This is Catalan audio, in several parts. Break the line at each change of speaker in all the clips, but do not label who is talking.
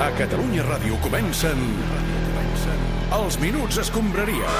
A Catalunya Ràdio comencen... comencen els Minuts Escombraria.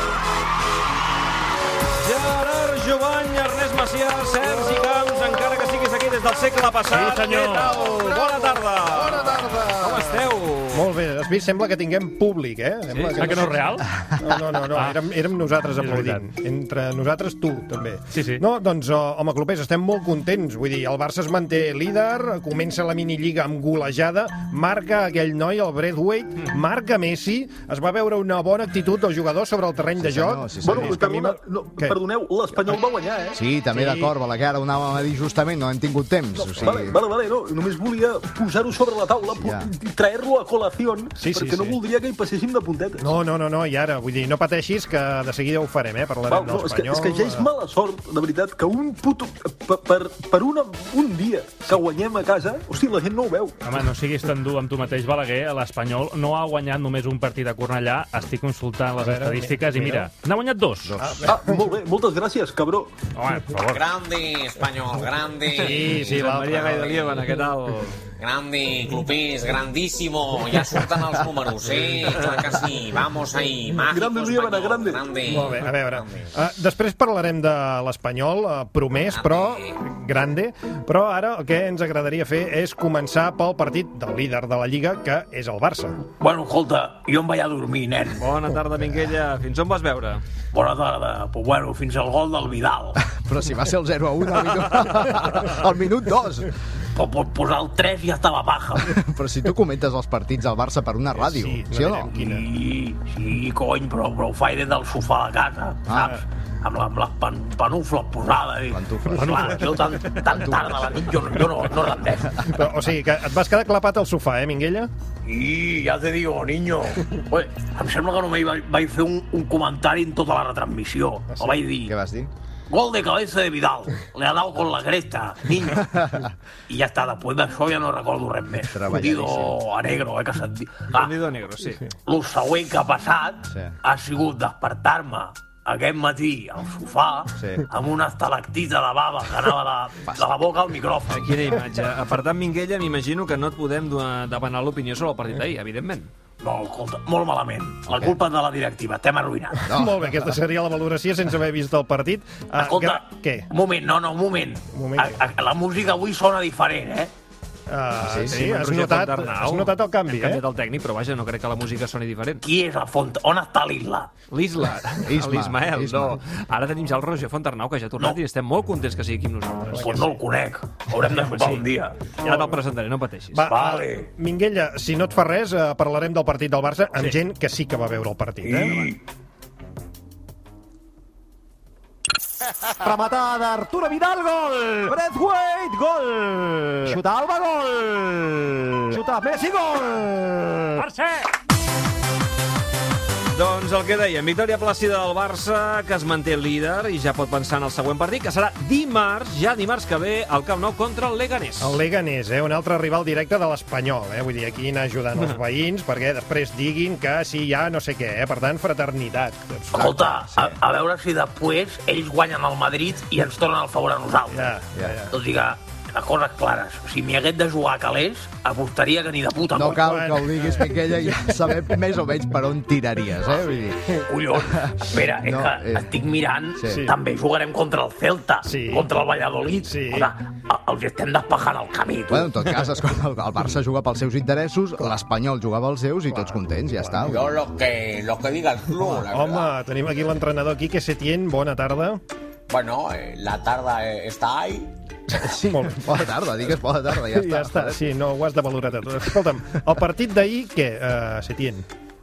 Gerard Jovany, Ernest Macià, Sergi Camps, encara que siguis aquí des del segle passat.
Sí, senyor.
Què tal? Bona tarda. Bona tarda. Com esteu?
Molt bé, has vist? Sembla que tinguem públic, eh? Sembla
Ah, que no és real?
No, no, no, no.
Ah.
Érem, érem nosaltres
És veritat.
aplaudint. Entre nosaltres, tu, també.
Sí, sí.
No, doncs, oh, home, Clopés, estem molt contents. Vull dir, el Barça es manté líder, comença la minilliga amb golejada, marca aquell noi, el
Mm.
Braithwaite, marca Messi, es va veure una bona actitud dels jugadors sobre el terreny de joc.
senyor, sí, senyor.
És
Bueno,
que a mi
també,
m'ha-
no,
Què?
perdoneu, l'Espanyol va guanyar, eh?
Sí, també d'acord, Balaguer, ara ho anàvem a dir justament, no hem tingut temps. O sigui,
Vale, vale, vale, no, només volia posar-ho sobre la taula,
Ja.
pu- traer-lo a col·lació,
Sí, sí,
perquè no
sí.
voldria que hi passéssim de puntetes.
No, no, no, no, i ara, vull dir, no pateixis, que de seguida ho farem, eh?
Val,
Parlarem
no,
del
és, que,
espanyol.
és que ja és
eh,
mala sort, de veritat, que un puto... Per, per, per una, un dia que guanyem a casa, hosti, la gent no ho veu.
Home, no siguis tan dur amb tu mateix, Balaguer. L'Espanyol no ha guanyat només un partit a Cornellà. Estic consultant les
veure,
estadístiques i mira,
mira.
n'ha guanyat dos.
Ah, molt bé, moltes gràcies, cabró.
Home, per favor.
Grandi, espanyol, grandi.
Sí, sí,
Josep Maria
l'altre.
Gaida.
Gaidelievana, què tal?
Grandi, clupís, grandíssimo. Ja surten els números, sí, clar que sí. Vamos ahí, mágico
Grande, Lievana,
espanyol,
grande.
grandi.
Molt bé, a veure. Uh, després parlarem de l'Espanyol, uh, promès, però grande. Però ara el que ens agradaria fer és començar pel partit del líder de la Lliga, que és el Barça.
Bueno, escolta, jo em vaig a dormir, nen.
Bona tarda, Minguella. Fins on vas veure?
Bona tarda. Però bueno, fins al gol del Vidal.
Però si va ser el 0 a 1 al minut, al minut 2.
Però pot posar el 3 i ja estava baja.
Però si tu comentes els partits del Barça per una ràdio, sí, sí o
direm
no?
Quina...
Sí, sí, cony, però, però ho faig des del sofà de casa,
Ah.
saps? Amb, la, amb les pen, penufles posades. I...
Pantufles.
Clar, jo tan, tan tard a la nit jo, no- jo no, no rendeixo.
Però, o sigui, que et vas quedar clapat al sofà, eh, Minguella?
I ja te digo, niño. Oye, em sembla que només vaig, vaig fer un, un comentari en tota la retransmissió. El vaig dir,
Què vas dir?
Gol de cabeza de Vidal. Le ha dado con la cresta, niño. I ja està, després d'això ja no recordo res més.
Treballadíssim.
Hundido a negro, eh, que se'n diu. Ah,
Bandido negro, sí.
el següent que ha passat
Sí.
sí. ha sigut despertar-me aquest matí al sofà
Sí.
amb una estalactita de bava que anava de, de la boca al micròfon.
Quina imatge. A part de Minguella, m'imagino que no et podem donar- demanar l'opinió sobre el partit d'ahir, evidentment.
No, escolta, molt malament. La culpa és de la directiva, estem arruïnats.
No. Molt bé, aquesta seria la valoració sense haver vist el partit. Ah,
Escolta,
gra- Què?
un moment, no, no, un moment.
Un moment,
A, a, la música avui sona diferent, eh?
Ah, sí, sí,
Tenim en
has,
Roger
notat,
Fontarnau.
has notat el canvi,
Hem
eh?
canviat el tècnic, però vaja, no crec que la música soni diferent.
Qui és la font? On està l'Isla?
L'Isla,
Isma,
l'Ismael,
Isma.
no. Ara tenim ja el Roger Fontarnau, que ja ha tornat
No.
i estem molt contents que sigui aquí amb nosaltres.
Pues no el conec. Haurem de sopar un dia.
Ja te'l presentaré, no pateixis.
Va,
Vale.
eh, Minguella, si no et fa res, eh, parlarem del partit del Barça amb gent que sí que va veure el partit, eh?
I...
Rematada Arturo Vidal, gol. Breathwaite, gol. Xuta Alba, gol. Xuta Messi, gol.
Doncs el que dèiem, victòria plàcida del Barça, que es manté líder i ja pot pensar en el següent partit, que serà dimarts, ja dimarts que ve, al Camp Nou contra el Leganés.
El Leganés, eh? un altre rival directe de l'Espanyol. Eh? Vull dir, aquí anar ajudant els veïns perquè després diguin que sí, ja no sé què. Eh? Per tant, fraternitat.
Escolta, a, a veure si després ells guanyen el Madrid i ens tornen el favor a nosaltres.
Ja, ja, ja.
Tot i que, les coses clares, si m'hi hagués de jugar a calés, apostaria que ni de puta.
No
mort.
cal que ho diguis, Miquella, i ja sabem més o menys per on tiraries, eh? Vull dir,
Collons, espera, és
No,
que
eh,
estic mirant,
sí.
també jugarem contra el Celta,
Sí.
contra el Valladolid.
Sí.
O sigui, els estem despejant el camí, tu.
Bueno, en tot cas, escolta, el- el Barça juga pels seus interessos, l'Espanyol jugava els seus i tots contents, ja està.
Yo lo que, lo que diga el club,
Ah.
la
Home,
verdad.
tenim aquí l'entrenador Quique Setién. Bona tarda.
Bueno, eh, la tarda eh, está ahí.
Sí,
Molt bé.
bona tarda, digues bona tarda, ja està. eh?
Ja està, sí, no, ho has de valorar tot. Escolta'm, el partit d'ahir, què, uh, Setién?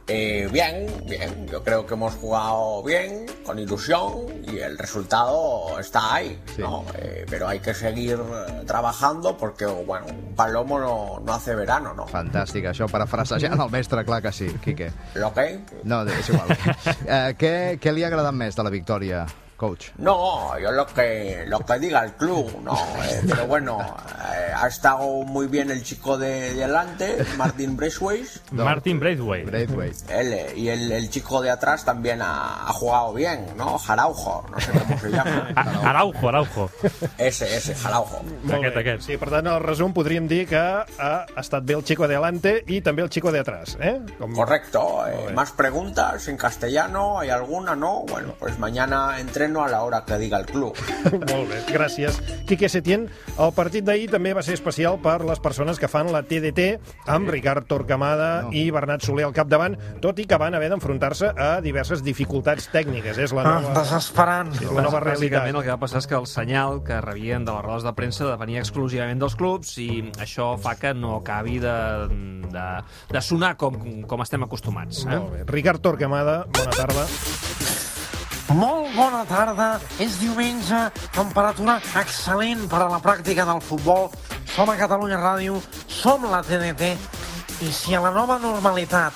Eh, bien, bien. Yo creo que hemos jugado bien, con ilusión, y el resultado está ahí.
Sí.
¿no? Eh, pero hay que seguir eh, trabajando porque, bueno, un palomo no, no hace verano, ¿no?
Fantàstic, això, parafrasejant el mestre, clar que sí, Quique.
Lo que
No, és igual. Eh, què, què li ha agradat més de la victòria, coach?
No, yo lo que lo que diga el club, no. eh, pero bueno, eh, ha estado muy bien el chico de, de adelante, Martin Braithwaite.
Martin Braithwaite.
Braithwaite.
Él, eh, y el, el chico de atrás también ha, ha jugado bien, ¿no? Jaraujo, no sé cómo se
A-
llama.
Araujo, Araujo.
Ese, ese, Jaraujo.
Aquest, aquest.
Sí, per tant, el resum podríem dir que ha estat bé el Chico de Adelante y también el Chico de Atrás, eh? Com-
Correcto. eh, más preguntas en castellano, ¿hay alguna? No. Bueno, pues mañana entreno a la hora que diga el club.
Molt bé, gràcies. Quique Setién, el partit d'ahir també va ser especial per les persones que fan la TDT amb Ricard Torquemada i Bernat Soler al capdavant, tot i que van haver d'enfrontar-se a diverses dificultats tècniques. És la nova,
Ah, Desesperant.
és la nova
Bàsicament
realitat.
el que va passar és que el senyal que rebien de les rodes de premsa depenia exclusivament dels clubs i això fa que no acabi de, de, de sonar com, com estem acostumats. Eh?
Molt bé. Ricard Torquemada, bona tarda.
Molt bona tarda. És diumenge, temperatura excel·lent per a la pràctica del futbol. Som a Catalunya Ràdio, som la TDT. I si a la nova normalitat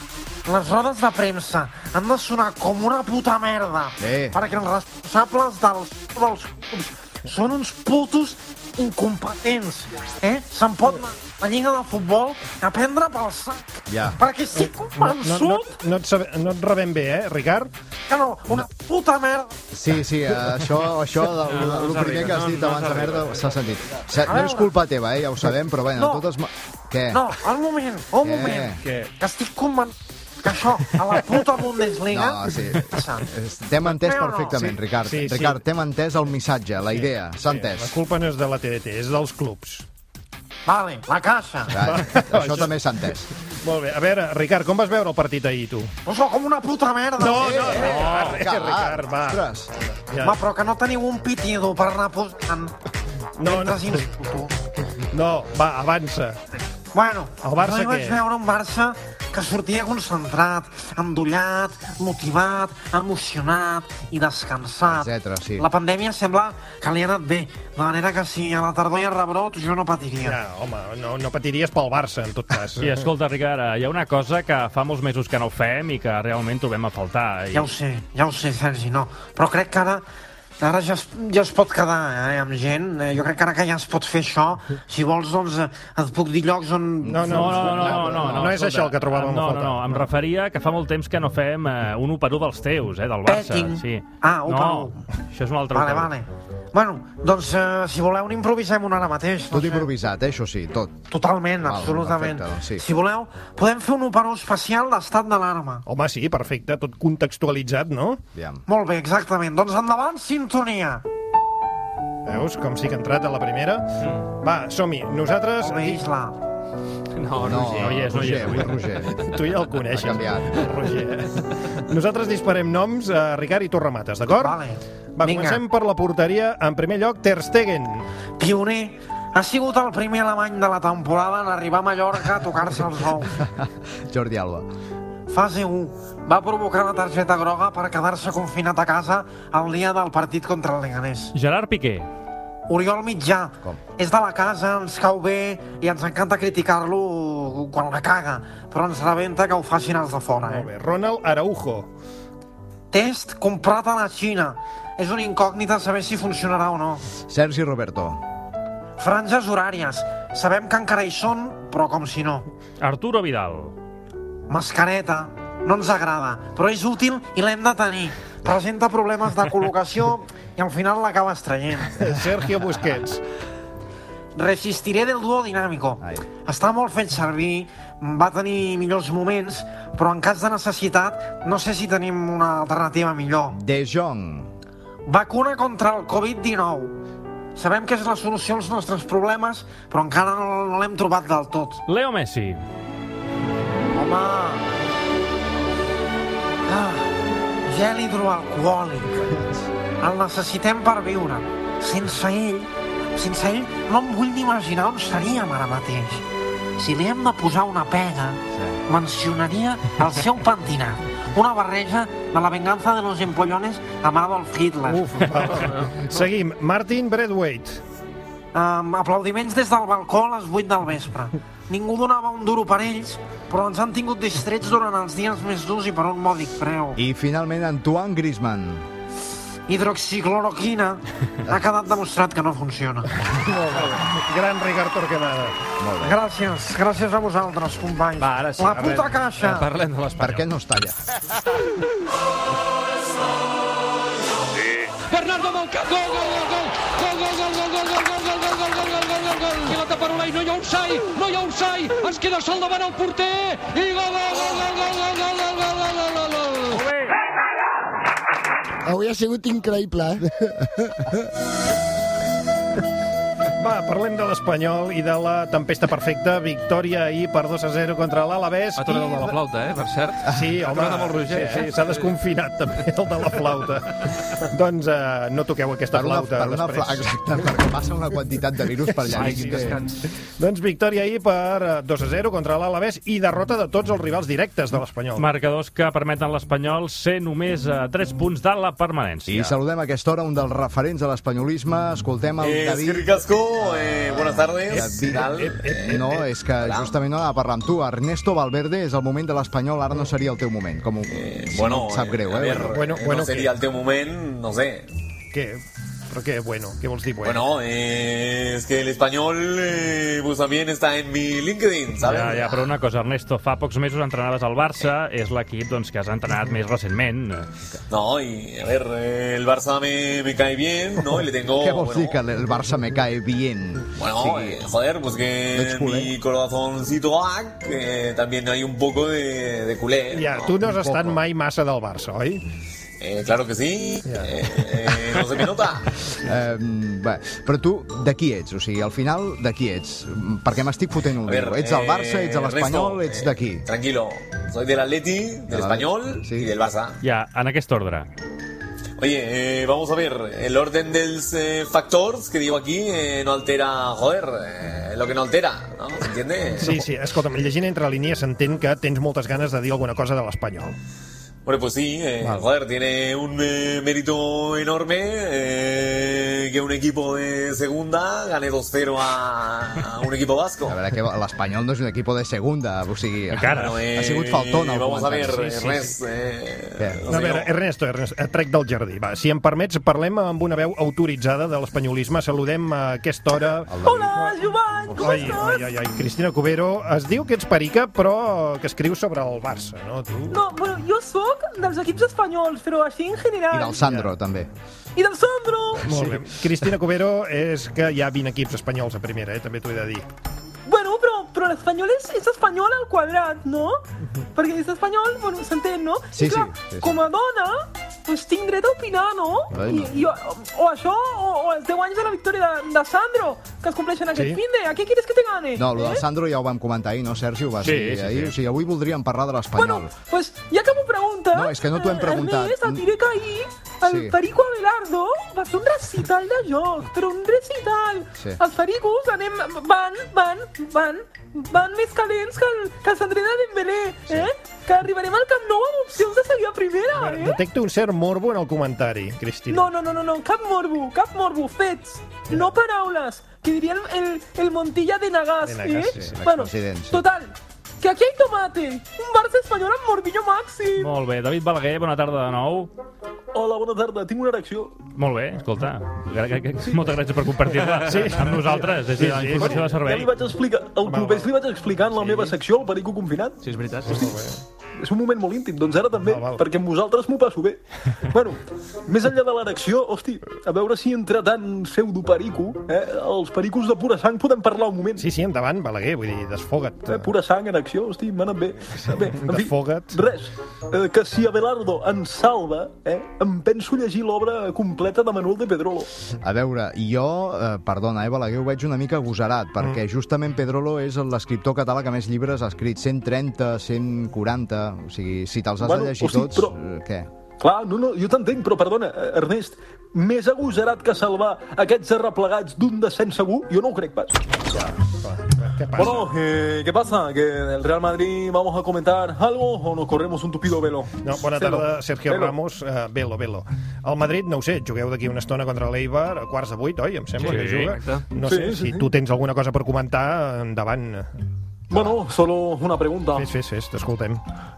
les rodes de premsa han de sonar com una puta merda
Sí.
perquè els responsables dels, dels clubs són uns putos incompetents, eh? Se'n pot anar a la lliga de futbol a prendre pel sac.
Ja.
Perquè estic
No,
convençut
no, no, no, et, sabe- no et rebem bé, eh, Ricard?
que no, una puta merda
Sí, sí, eh, això, això del,
No, no
el
ens
primer
arriba,
que has
no,
dit
no ens
abans de
arriba.
merda s'ha sentit. Se-
veure.
No és culpa teva, eh, ja ho sabem, però bé,
No.
en totes... ma- Què?
No, un moment, un
Què?
moment.
Què?
Que estic convençut que això a la puta Bundesliga...
No, sí.
eh? passa.
Es- T'hem entès
Creu o no?
perfectament, Ricard.
Sí, sí.
Ricard, t'hem entès el missatge, la idea. S'ha
La
entès.
culpa no és de la TDT, és dels clubs.
Vale, la caixa.
Clar, Això també s'ha entès.
Molt bé. A veure, Ricard, com vas veure el partit ahir, tu?
No sou com una puta merda.
No, no, Ricard, eh,
Ricard,
Ricard, va.
Oh, Ostres.
Ja.
Home, però que no teniu un pitido per anar posant...
No, no.
mentre insulto.
No, va, avança.
Bueno,
El Barça
jo hi vaig
què?
veure un Barça que sortia concentrat, endollat, motivat, emocionat i descansat.
Etcètera, sí.
La pandèmia sembla que li ha anat bé, de manera que si a la tardor hi ha rebrot jo no patiria.
Ja, home, no, no patiries pel Barça, en tot cas.
I escolta, Ricard, eh, hi ha una cosa que fa molts mesos que no fem i que realment trobem a faltar. I...
Ja ho sé, ja ho sé, Sergi, no. Però crec que ara, ara ja, es, ja es pot quedar eh, amb gent. Eh, jo crec que ara que ja es pot fer això, si vols, doncs eh, et puc dir llocs on...
No, no,
No, no, no, no, no,
no és això el que trobàvem a
no,
faltar.
No, no, em referia que fa molt temps que no fem eh, un 1 per 1 dels teus, eh, del Barça.
Betting.
Sí.
Ah, un
no,
per
això és un altre 1
Vale,
per 1.
vale. Bueno, doncs, eh, si voleu, n'improvisem un ara mateix.
Tot
sé.
improvisat, eh, això sí, tot.
Totalment,
Val,
absolutament.
perfecte, doncs sí.
Si voleu, podem fer un operó especial d'estat d'alarma.
Home, sí, perfecte, tot contextualitzat, no?
Aviam.
Molt bé, exactament. Doncs endavant, sintonia.
Veus com sí que ha entrat a la primera? Va, som-hi. Nosaltres...
Home, Isla.
No,
No,
Roger.
no hi és, no hi és.
Roger, avui Roger.
Tu ja el coneixes.
Ha canviat.
el Roger. Nosaltres disparem noms a Ricard i Torremates, d'acord?
Vale.
Va,
Vinga.
comencem per la porteria. En primer lloc, Ter Stegen.
Pioner, ha sigut el primer alemany de la temporada en arribar a Mallorca a tocar-se els ous.
Jordi Alba.
Fase 1. Va provocar la targeta groga per quedar-se confinat a casa el dia del partit contra el Leganés.
Gerard Piqué.
Oriol Mitjà.
Com?
És de la casa, ens cau bé i ens encanta criticar-lo quan la caga, però ens rebenta que ho facin els de fora.
Molt
Eh?
bé. Ronald Araujo.
Test comprat a la Xina. És una incògnita saber si funcionarà o no.
Sergi Roberto.
Franges horàries. Sabem que encara hi són, però com si no.
Arturo Vidal.
Mascareta. No ens agrada, però és útil i l'hem de tenir. Presenta problemes de col·locació i al final l'acabes traient.
Sergio Busquets.
Resistiré del duo dinàmico.
Ai.
Està molt fet servir, va tenir millors moments, però en cas de necessitat no sé si tenim una alternativa millor.
De Jong.
Vacuna contra el Covid-19. Sabem que és la solució als nostres problemes, però encara no, no l'hem trobat del tot.
Leo Messi.
Home! Ah, gel hidroalcohòlic. El necessitem per viure. Sense ell, sense ell no em vull ni imaginar on seríem ara mateix. Si li hem de posar una pega, mencionaria el seu pentinat. Una barreja de la venganza de los empollones amb Adolf Hitler.
Uf, va. Seguim. Martin Bradwaite.
Amb aplaudiments des del balcó a les 8 del vespre. Ningú donava un duro per ells, però ens han tingut distrets durant els dies més durs i per un mòdic preu.
I finalment Antoine Griezmann.
hidroxicloroquina, ha quedat demostrat que no funciona.
Gran Ricard Torquemada.
Gràcies, gràcies a vosaltres, companys.
Va, ara sí.
La
parlem-
puta
eh,
caixa!
Parlem de
Per
l'Espanyol.
què no es talla?
Bernardo Monca, gol, gol, gol, gol, gol, gol, gol, gol, gol, gol, gol, gol, gol, gol, gol, gol, gol, gol, pilota per Olai, no hi ha un sai, no hi ha un sai, ens queda sol davant el porter, i gol, gol, gol, gol, gol, gol, gol, gol, gol, gol, gol, gol, gol.
Avui ha sigut increïble, eh?
Va, parlem de l'Espanyol i de la tempesta perfecta. Victòria ahir per 2 a 0 contra l'Alavés.
Ha tornat
i
el de la flauta, eh, per cert.
Sí,
ha
home,
tornat amb el Roger,
sí,
eh?
sí, s'ha desconfinat també el de la flauta. doncs eh, no toqueu aquesta
Per una,
flauta
per una fla...
després.
Exacte, perquè passa una quantitat de virus per allà.
Ai, sí, descans. Doncs victòria ahir per eh, 2 a 0 contra l'Alavés i derrota de tots els rivals directes de l'Espanyol.
Marcadors que permeten a l'Espanyol ser només a 3 punts de la permanència.
I saludem a aquesta hora un dels referents de l'espanyolisme. Escoltem el
Eh,
David...
Esquerri Casco, eh, buenas tardes.
David-
¿Qué tal? Eh,
No, és que justament no anava a parlar amb tu. Ernesto Valverde és el moment de l'Espanyol, ara no seria el teu moment. Com ho... sí,
Bueno,
em sap
eh,
greu,
a
eh?
ver,
Bueno,
eh, no
bueno,
sería el teu moment, no sé.
Què? Però què, bueno, què vols dir, bueno?
Bueno, eh, es que el español eh, pues también está en mi LinkedIn, ¿sabes?
Ja, ja, però una cosa, Ernesto, fa pocs mesos entrenaves al Barça, és l'equip doncs, que has entrenat més recentment.
No, y a ver, eh, el Barça me, me cae bien, ¿no? Y le tengo...
Què vols
bueno,
dir que el Barça me cae bien?
Bueno, eh, joder, pues
No
que
es
en
culé.
mi corazoncito ac, eh, también hay un poco de, de culé.
Ja,
¿no?
tu no has estat mai massa del Barça, oi?
Eh, claro que sí. Eh, eh, no se me nota.
Eh, bé, però tu de qui ets? O sigui, al final, de qui ets? Perquè m'estic fotent un
A
lío.
ver,
Ets del
eh,
Barça, ets de l'Espanyol,
Ernesto,
ets
eh,
d'aquí.
Tranquilo, soy del Atleti, del
Del
Español
Sí.
y del Barça.
Ja, en aquest ordre.
Oye, eh, vamos a ver, el orden de los eh, factors que digo aquí eh, no altera, joder, eh, lo que no altera, ¿no? ¿Se entiende?
Sí, sí, escolta'm, llegint entre línies s'entén que tens moltes ganes de dir alguna cosa de l'Espanyol.
Bueno, pues sí, eh, joder, tiene un eh, mérito enorme eh, que un equipo de segunda gane 2-0 a, a un equipo vasco.
A veure, que l'Espanyol no és un equip de segunda, o sigui...
Encara.
Bueno, eh,
Ha sigut faltón el
Vamos a ver,
comentari. Sí, sí,
Ernest, eh,
Bé.
A
no sé,
veure,
no.
Ernesto, Ernesto, et trec del jardí. Va, si em permets, parlem amb una veu autoritzada de l'espanyolisme. Saludem a aquesta hora...
Hola,
Joan, com ai, estàs? Ai, ai, ai, Cristina Cubero, es diu que ets perica, però que escrius sobre el Barça, no, tu?
No, bueno, jo sóc dels equips espanyols, però així en general.
I del Sandro, també.
I del Sandro!
Molt bé. Cristina Cubero és que hi ha 20 equips espanyols a primera, eh? també t'ho he de dir.
Bueno, però, però l'espanyol és, és espanyol al quadrat, no? Perquè és espanyol, bueno, s'entén, no?
Mhm. Sí,
I clar,
sí, sí, sí.
com a dona, doncs tinc dret a opinar, no?
Ai,
I, i, o, o això, o, o els 10 anys de la victòria de, de Sandro, que es compleixen aquest
Sí.
sí. fin de... A què quieres que te gane? Eh?
No, el del Sandro ja ho vam comentar ahir, no, Sergi? Ho va
Sí,
dir
sí,
ahir.
sí.
O sigui, avui voldríem parlar de l'Espanyol.
Pues ja que m'ho preguntes...
No, és que no t'ho hem
eh,
preguntat.
Ernest, et diré que ahir el
Sí.
sí. Perico Abelardo va fer un recital de joc, però un recital.
Sí.
Els pericos anem, van, van, van, van més calents que el, que el Sandré de Dembélé, eh? Que arribarem al Camp Nou amb opcions de salir a primera, eh?
Detecto un cert morbo en el comentari, Cristina.
No, no, no, no, no, cap morbo, cap morbo, fets, no paraules, que diria el, el, el Montilla de Nagàs,
De Nagàs,
eh?
sí, sí,
bueno,
l'expresident, sí.
total, que aquí hay tomate, un Barça espanyol amb morbillo màxim.
Molt bé, David Balaguer, bona tarda de nou.
Hola, bona tarda. Tinc una erecció.
Molt bé, escolta, gra- gra- gra- moltes gràcies per compartir-la
Sí.
amb nosaltres, des de la informació de
Ja
servei.
li vaig explicar, al clubers li vaig explicar en la meva secció, el perico confinat.
Sí, és veritat.
Hosti, és un moment molt íntim, doncs ara també, perquè amb vosaltres m'ho passo bé. bueno, més enllà de l'erecció, hosti, a veure si entre tant pseudo-perico, eh, els pericos de pura sang podem parlar un moment.
Sí, sí, endavant, Balaguer, vull dir, desfoga't.
Eh, pura sang en acció, hosti, m'ha anat bé. bé en fi,
Defoga't.
res, eh, que si Abelardo ens salva, eh, em penso llegir l'obra completa de Manuel de Pedrolo.
A veure, jo, eh, perdona, eh, Balaguer, ho veig una mica agosarat, perquè justament Pedrolo és l'escriptor català que més llibres ha escrit, 130, 140... O sigui, si te'ls has
Bueno,
de llegir
hosti,
tots,
però-
eh, què?
Clar, no, no, jo t'entenc, però perdona, eh, Ernest, més agosarat que salvar aquests arreplegats d'un descens segur, jo no ho crec pas.
Què passa?
Bueno, eh, ¿qué pasa? Que del Real Madrid vamos a comentar algo o nos corremos un tupido velo.
No, bona
Velo.
tarda, Sergio
Velo.
Ramos. Uh, velo, velo. El Madrid, no ho sé, jugueu d'aquí una estona contra l'Eibar, a quarts de vuit, oi? Em sembla
Sí,
que juga.
exacte.
No
Sí,
sé,
sí,
si
sí.
tu tens alguna cosa per comentar, endavant.
Bueno, solo una pregunta.
Fes, fes, fes, t'escoltem.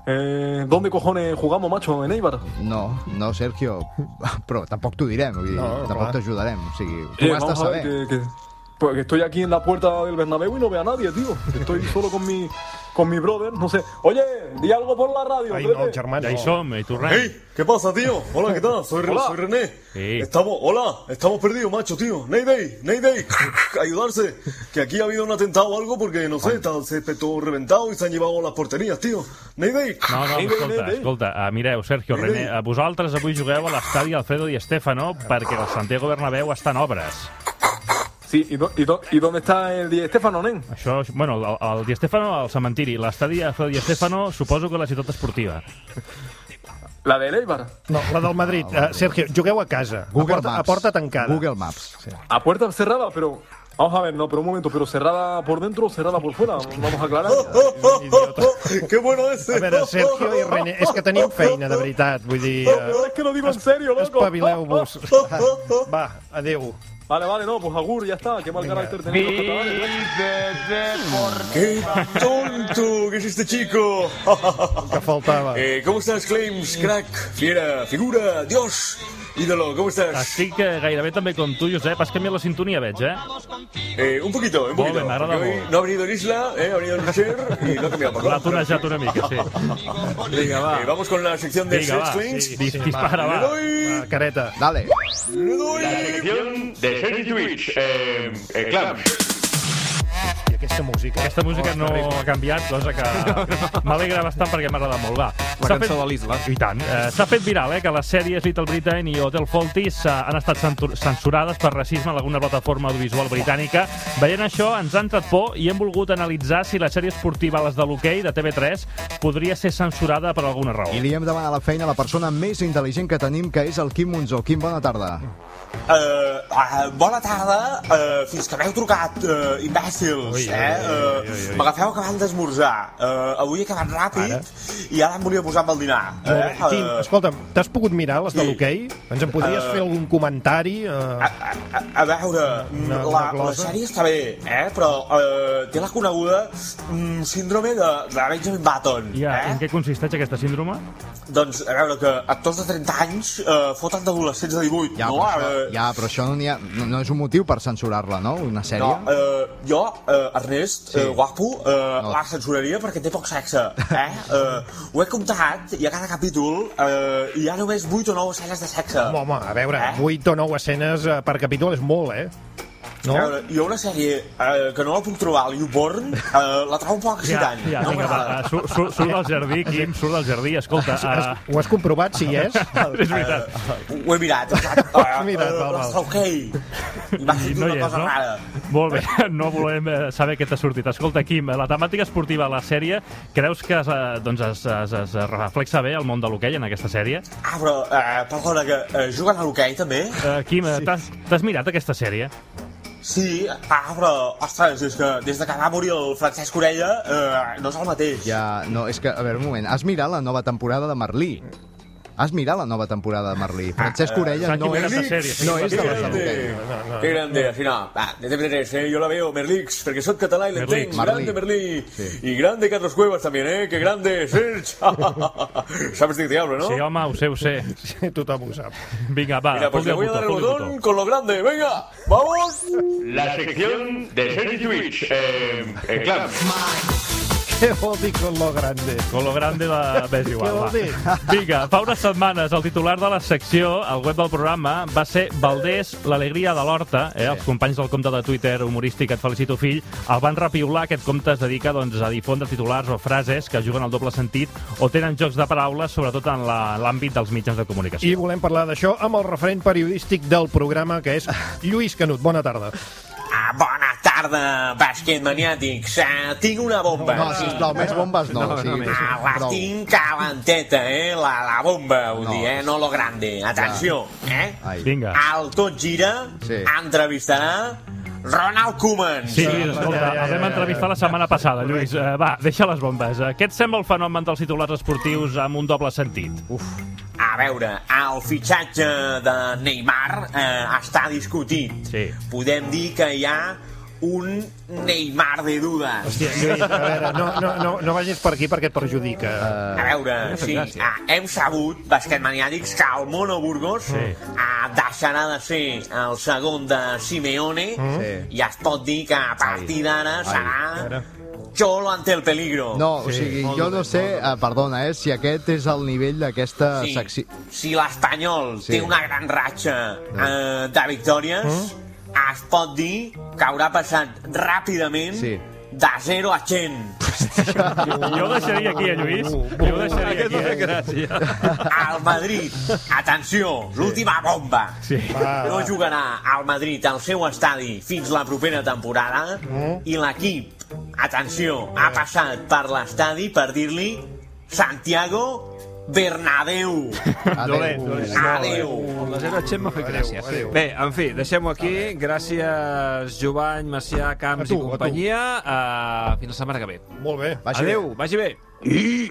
Eh, ¿Dónde cojones jugamos, macho? ¿En Eibar?
No, no, Sergio, però tampoc t'ho direm, vull dir,
No,
no, tampoc
clar.
t'ajudarem. O sigui, tu
Eh,
ho has de
vamos a ver,
saber.
que, que- pues que estoy aquí en la puerta del Bernabéu y no veo a nadie, tío. Estoy solo con mi, con mi brother, no sé. Oye, di algo por la radio.
Ay,
hombre.
no, Germán,
Ja hi som, i tu res.
Hey, ¿Qué pasa, tío? Hola, ¿qué tal? Soy, Re-
Hola.
soy René. Estamos, hola, estamos perdidos, macho, tío. Neyday, Neyday, ayudarse. Que aquí ha habido un atentado o algo porque, no sé, está- se está todo reventado y se han llevado las porterías, tío. Neyday.
No, no, escolta, escolta, eh, mireu, Sergio, René, eh, vosaltres avui jugueu a l'estadi Alfredo Di Stefano perquè el Santiago Bernabéu està en obres.
Sí, i, do, i, do, i d'on està el Di Stefano, nen?
Això, bueno, el, el Di Stefano al cementiri, l'estadi Alfredo Di Stefano suposo que a la ciutat esportiva.
La de l'Eibar.
No, la del Madrid. Uh, Sergio, jugueu a casa.
Google
a, porta,
Maps.
a porta tancada.
Google
Maps.
A puerta cerrada, pero... Vamos a ver, no, pero un momento, pero cerrada por dentro o cerrada por fuera, vamos a aclarar.
¡Qué bueno ese!
A veure, Sergio i René, és que tenim feina, de veritat. Vull dir... eh,
Pero es que lo digo en serio, loco.
Espavileu-vos. Va, adeu.
Vale, vale, no, pues Agur, ya está, qué mal
eh?
eh?
carácter tenemos. los catalanes.
¡Qué tonto que es este chico!
que faltaba.
Eh, ¿Cómo estás, Claims? Crack, fiera, figura, Dios, ídolo, ¿cómo
Ah,
estás?
Estic eh, gairebé també com tu, Josep. Has canviat la sintonia, veig, eh?
Eh, un poquito, un
Molt
poquito.
bé, m'agrada
porque hoy
molt.
No ha venido el Isla, eh, ha venido el Rocher y no ha cambiado por
L'ha tonejat una mica, sí.
Venga, va. Eh, vamos con la sección de
Venga,
Sets
va,
Claims.
sí, sí, dispara, va.
Le doy-
Careta.
Dale.
le doy-
de Sergi Twitch, eh, eh, Clams.
I aquesta música...
Aquesta música
Oh,
no
terrible.
ha canviat, cosa que m'alegra bastant perquè m'ha agradat molt. Va.
La
S'ha
cançó de l'Isla.
I tant. Eh, S'ha fet viral, eh, que les sèries Little Britain i Hotel Faulty s'ha- han estat centu- censurades per racisme en alguna plataforma audiovisual britànica. Veient això, ens ha entrat por i hem volgut analitzar si la sèrie esportiva Les de l'hoquei de TV3 podria ser censurada per alguna raó.
I li hem demanat la feina a la persona més intel·ligent que tenim, que és el Quim Monzó. Quim, bona tarda.
Eh, ah, bona tarda, eh, fins que m'heu trucat, eh, imbècils,
Ui, ui, ui,
eh? Eh,
ui, ui.
M'agafeu acabant d'esmorzar. Eh, avui he acabat ràpid i ara em volia posar amb el dinar.
Molt bé.
eh?
Quim,
Eh,
escolta'm, t'has pogut mirar les de
Sí.
l'hoquei? Ens en podries
Eh,
fer algun comentari? Uh...
A, a veure,
Una-
mm,
una
la, la
glosa?
sèrie està bé, eh? però eh, té la coneguda mm, síndrome de, de Benjamin Button.
Ja, en què consisteix aquesta síndrome?
Doncs, a veure, que actors de 30 anys eh, foten d'adolescents de 18,
Ja,
no?
però això,
Eh,
ja, però això no, n'hi ha, no, no és un motiu per censurar-la, no? Una sèrie?
No, eh, jo, eh, Ernest, sí. eh, guapo, eh, no. la censuraria perquè té poc sexe. Eh? eh, ho he comptat i a cada capítol eh, hi ha només 8 o 9 escenes de sexe.
Home, home, a veure, 8 o 9 escenes eh, per capítol és molt, eh?
No? A veure, hi ha una sèrie eh, que no la puc trobar al YouPorn, eh, la trobo un poc excitant.
ja,
no
vinga,
m'agrada.
va, va, surt, surt, surt del jardí, Quim, surt del jardí, escolta. Uh,
Ho has comprovat, si hi és?
és veritat.
Ho he mirat, exacte. Ho
he mirat, val, val.
ok. I m'ha
I
sortit
no
una
hi és,
cosa
no?
rara.
Molt bé, no volem eh, saber què t'ha sortit. Escolta, Quim, eh, la temàtica esportiva a la sèrie, creus que es, eh, doncs es, es, es reflexa bé el món de l'hoquei en aquesta sèrie?
Ah, però, eh, perdona, que eh, juguen a l'hoquei, també?
Uh, Quim, eh, t'has t'has mirat aquesta sèrie?
Sí, ah, però, ostres, és que des de que va morir el Francesc Orella eh, no és el mateix.
Ja, no, és que, a veure, un moment, has mirat la nova temporada de Merlí? Has mirat la nova temporada de Merlí? Francesc
eh,
Orella
s'ha
no és,
equivocat de sèrie.
no és de les de l'hoquei.
Qué grande, al final. Va, de TV3, eh, yo la veo, Merlix, porque soy catalán y le
Merlix.
tengo.
Merlí.
Grande Merlí. Y grande Carlos Cuevas también, ¿eh? Qué grande, Serge. Sabes de qué te hablo, ¿no?
Sí, home, ho sé, ho sé.
Sí, tothom ho sap.
Vinga, va,
Mira, pues
fot-li el
le voy a
botó,
dar el
fot-li el
botón
botó.
con lo grande. Venga, vamos.
La sección de Sergi Twitch, eh, eh, Clams.
Què vol dir con lo grande?
Con lo grande va... Ves igual,
Què vol dir?
va. Vinga, fa unes setmanes el titular de la secció al web del programa va ser Valdés, l'alegria de l'horta. Eh? Els companys del compte de Twitter humorístic Et felicito fill el van repiular. Aquest compte es dedica doncs, a difondre titulars o frases que juguen al doble sentit o tenen jocs de paraules, sobretot en la- l'àmbit dels mitjans de comunicació.
I volem parlar d'això amb el referent periodístic del programa, que és Lluís Canut. Bona tarda.
Ah, bona tarda, basquet maniàtics. Ah, tinc una bomba.
No, sisplau, més bombes no, o sigui,
Ah, la
prou.
tinc calenteta, eh? La, la bomba, vull
No,
dir, eh? No lo grande. Atenció, eh?
Ai.
Vinga.
Al Tot Gira
Sí.
entrevistarà Ronald Koeman.
Sí, Lluís, escolta, el vam entrevistar la setmana passada, Lluís. Eh, va, deixa les bombes. Eh, Què et sembla el fenomen dels titulars esportius amb un doble sentit? Uf.
A veure, el fitxatge de Neymar eh, està discutit.
Sí.
Podem dir que hi ha
un Neymar de dudas.
Hòstia, Lluís, a veure, no, no, no, no vagis per aquí perquè et perjudica.
A veure, sí, ah, hem sabut, basquet maniàtics, que el Mono Burgos sí. ah, deixarà de ser el segon de Simeone
Mm-hmm.
Mm.
i es pot dir que a partir d'ara serà Cholo ante el peligro.
No, o sigui, jo no sé, eh, perdona, eh, si aquest és el nivell d'aquesta
Sí.
secció...
Si l'Espanyol
Sí.
té una gran ratxa eh, de victòries, es pot dir que haurà passat ràpidament
Sí.
de 0 a 100.
Jo ho deixaria aquí, eh, Lluís. Jo ho deixaria aquí, eh? Gràcies.
Al Madrid, atenció, l'última bomba.
Sí.
Va,
No jugarà al Madrid al seu estadi fins la propera temporada
Mm.
i l'equip, atenció, ha passat per l'estadi per dir-li Santiago Bernabéu. Adeu.
La zero Txemma fa gràcia.
adéu.
Bé, en fi, deixem-ho aquí. Gràcies, Jovany, Macià, Camps
A tu, eh,
i companyia. Uh, fins la setmana que ve.
Molt bé.
Adéu, vagi bé.
I